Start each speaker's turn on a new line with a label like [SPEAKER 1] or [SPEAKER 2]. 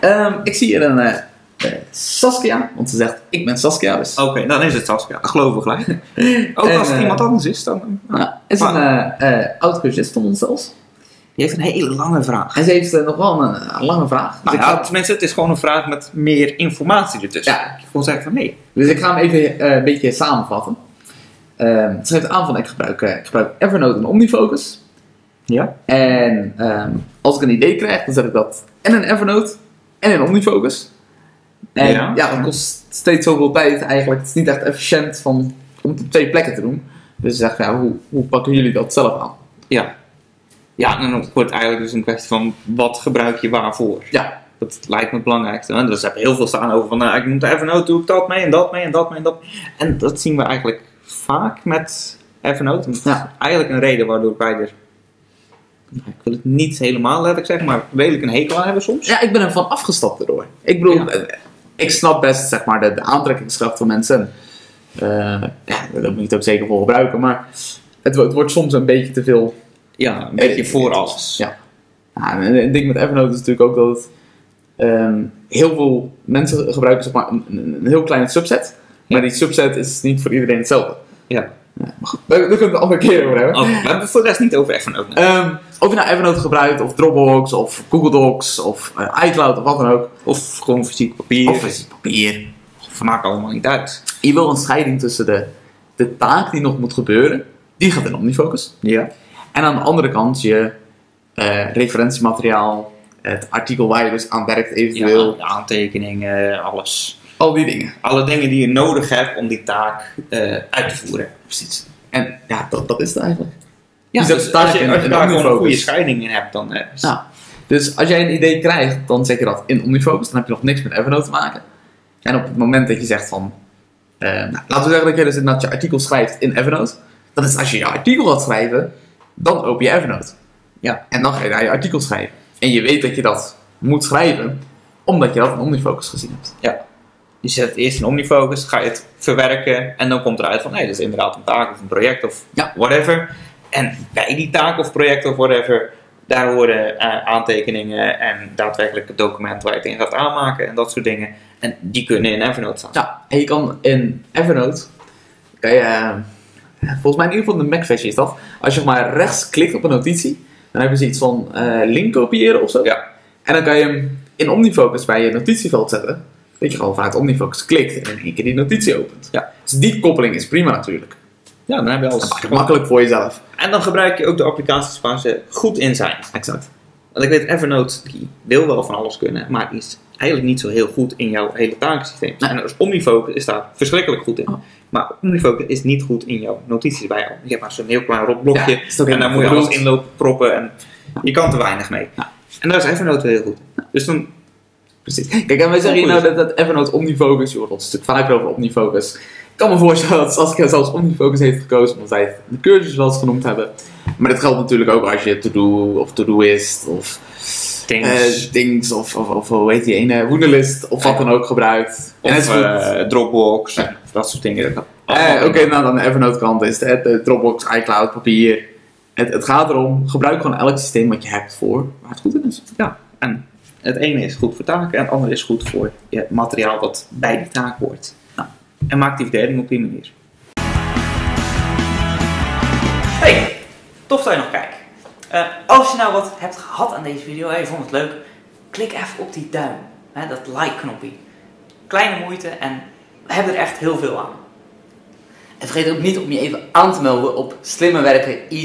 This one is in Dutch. [SPEAKER 1] Ehm, ik zie hier een eh, eh, Saskia, want ze zegt ik ben Saskia. Dus.
[SPEAKER 2] Oké, nou, dan is het Saskia. Geloof ik gelijk. Ook
[SPEAKER 1] En,
[SPEAKER 2] als het
[SPEAKER 1] eh,
[SPEAKER 2] iemand anders is, dan...
[SPEAKER 1] Nou, is een eh, eh, oud cursist van ons zelfs.
[SPEAKER 2] Je heeft een hele lange vraag.
[SPEAKER 1] En ze heeft eh, nog wel een, eh, lange vraag. Dus,
[SPEAKER 2] Nou
[SPEAKER 1] ik
[SPEAKER 2] ja,
[SPEAKER 1] ga,
[SPEAKER 2] tenminste, het is gewoon een vraag met meer informatie ertussen.
[SPEAKER 1] Ja.
[SPEAKER 2] Ik wil zeggen van, nee.
[SPEAKER 1] dus ik ga hem even eh, een beetje samenvatten. Ehm, ze geeft aan van ik gebruik, eh, ik gebruik Evernote en Omnifocus.
[SPEAKER 2] Ja?
[SPEAKER 1] En ehm, als ik een idee krijg, dan zet ik dat en in Evernote en in Omnifocus. En
[SPEAKER 2] Ja.
[SPEAKER 1] ja, dat kost steeds zoveel tijd eigenlijk. Het is niet echt efficiënt van, om het op twee plekken te doen. Dus ik zeg, ja, hoe, hoe pakken jullie dat zelf aan?
[SPEAKER 2] Ja. Ja, en dan wordt eigenlijk dus een kwestie van, wat gebruik je waarvoor?
[SPEAKER 1] Ja,
[SPEAKER 2] Dat lijkt me het belangrijkste. En dus hebben heel veel staan over van, nou, ik moet Evernote, doe ik dat mee en dat mee en dat mee en dat. En dat zien we eigenlijk vaak met Evernote. En dat is
[SPEAKER 1] Ja.
[SPEAKER 2] eigenlijk een reden waardoor wij er, nou, ik wil het niet helemaal letterlijk zeggen, maar redelijk een hekel aan hebben soms.
[SPEAKER 1] ja ik ben er van afgestapt erdoor. Ik bedoel,
[SPEAKER 2] Ja.
[SPEAKER 1] eh, ik snap best zeg maar, de, de aantrekkingskracht van mensen. Eh, ja, daar moet je het ook zeker voor gebruiken. Maar het, wo- het wordt soms een beetje te veel
[SPEAKER 2] Ja, een beetje voor alles.
[SPEAKER 1] Ja. Ja, en een ding met Evernote is natuurlijk ook dat het, ehm, heel veel mensen gebruiken zeg maar, een, een- een heel kleine subset. Maar die subset is niet voor iedereen hetzelfde.
[SPEAKER 2] Ja.
[SPEAKER 1] Maar goed, daar, daar kunnen we het een andere keer over hebben.
[SPEAKER 2] Oh, we hebben het voor de rest niet over Evernote. nee.
[SPEAKER 1] Ehm, of je nou Evernote gebruikt, of Dropbox, of Google Docs, of eh, iCloud, of wat dan ook.
[SPEAKER 2] Of gewoon fysiek papier.
[SPEAKER 1] Of is het papier.
[SPEAKER 2] Of maakt allemaal niet uit.
[SPEAKER 1] Je wil een scheiding tussen de, de taak die nog moet gebeuren, die gaat in Omnifocus.
[SPEAKER 2] Ja.
[SPEAKER 1] En aan de andere kant je eh, referentiemateriaal, het artikel waar je dus aan werkt eventueel,
[SPEAKER 2] ja. Aantekeningen, alles.
[SPEAKER 1] al die dingen.
[SPEAKER 2] Alle dingen die je nodig hebt om die taak eh, uit te voeren.
[SPEAKER 1] Precies. En ja, dat, dat is het eigenlijk.
[SPEAKER 2] Ja,
[SPEAKER 1] Dus
[SPEAKER 2] dus
[SPEAKER 1] dat staat
[SPEAKER 2] als je,
[SPEAKER 1] in-
[SPEAKER 2] als je
[SPEAKER 1] in
[SPEAKER 2] daar gewoon een
[SPEAKER 1] Omnifocus.
[SPEAKER 2] goede scheiding in hebt, dan eh, is-
[SPEAKER 1] Ja. Dus als jij een idee krijgt, dan zet je dat in Omnifocus. Dan heb je nog niks met Evernote te maken. En op het moment dat je zegt van... eh, nou, laten we zeggen dat je dus inderdaad je artikel schrijft in Evernote. Dan is als je je artikel gaat schrijven, dan open je Evernote.
[SPEAKER 2] Ja.
[SPEAKER 1] En dan ga je daar je artikel schrijven. En je weet dat je dat moet schrijven, omdat je dat in Omnifocus gezien hebt.
[SPEAKER 2] ja. Je zet het eerst in Omnifocus, ga je het verwerken en dan komt eruit van nee, dat is inderdaad een taak of een project of
[SPEAKER 1] Ja.
[SPEAKER 2] whatever. En bij die taak of project of whatever, daar horen eh, aantekeningen en daadwerkelijk het document waar je het in gaat aanmaken en dat soort dingen. En die kunnen in Evernote staan.
[SPEAKER 1] Ja, en je kan in Evernote, kan je, eh, volgens mij in ieder geval de Mac-versie is dat, als je maar rechts klikt op een notitie, dan hebben ze iets van eh, link kopiëren of zo.
[SPEAKER 2] Ja.
[SPEAKER 1] En dan kan je hem in Omnifocus bij je notitieveld zetten, dat je gewoon vanuit Omnifocus klikt en in één keer die notitie opent.
[SPEAKER 2] Ja.
[SPEAKER 1] Dus die koppeling is prima natuurlijk.
[SPEAKER 2] ja, dan heb je
[SPEAKER 1] Dat
[SPEAKER 2] alles.
[SPEAKER 1] maakt het makkelijk voor jezelf.
[SPEAKER 2] En dan gebruik je ook de applicaties waar ze goed in zijn.
[SPEAKER 1] Exact.
[SPEAKER 2] Want ik weet, Evernote die wil wel van alles kunnen, maar die is eigenlijk niet zo heel goed in jouw hele takensysteem.
[SPEAKER 1] Nee.
[SPEAKER 2] En als Omnifocus is daar verschrikkelijk goed in.
[SPEAKER 1] Oh.
[SPEAKER 2] Maar Omnifocus is niet goed in jouw notities bij jou. Je hebt maar zo'n heel klein rot blokje
[SPEAKER 1] Ja, is ook
[SPEAKER 2] en
[SPEAKER 1] helemaal
[SPEAKER 2] daar moet je
[SPEAKER 1] bedoeld.
[SPEAKER 2] alles in lopen proppen en je kan te weinig mee.
[SPEAKER 1] Ja.
[SPEAKER 2] En daar is Evernote heel goed. in. Dus dan,
[SPEAKER 1] Precies. Kijk, en wij zeggen hier nou dat, dat Evernote Omnifocus, joh, dat is natuurlijk vaker over Omnifocus. Ik kan me voorstellen dat Saskia zelfs Omnifocus heeft gekozen, omdat wij het de cursus wel eens genoemd hebben. Maar dat geldt natuurlijk ook als je to-do of to-doist of
[SPEAKER 2] Things.
[SPEAKER 1] eh, things of, of, of hoe heet die ene, hoenderlist of wat dan ook gebruikt. en dat
[SPEAKER 2] of
[SPEAKER 1] is goed.
[SPEAKER 2] eh, Dropbox, en dat soort dingen. Dat-
[SPEAKER 1] Eh, Oké, nou dan de Evernote kant is het, eh, Dropbox, iCloud, papier. Het, het gaat erom, gebruik gewoon elk systeem wat je hebt voor waar het goed in is.
[SPEAKER 2] Ja, en het ene is goed voor taken en het andere is goed voor je materiaal dat bij die taak hoort.
[SPEAKER 1] Ja.
[SPEAKER 2] En maak die verdeling op die manier. Hey, tof dat je nog kijkt.
[SPEAKER 3] Eh, als je nou wat hebt gehad aan deze video en je vond het leuk, klik even op die duim. Hè, dat like-knopje. Kleine moeite en we hebben er echt heel veel aan. En vergeet ook niet om je even aan te melden op Slimme Werken Easy.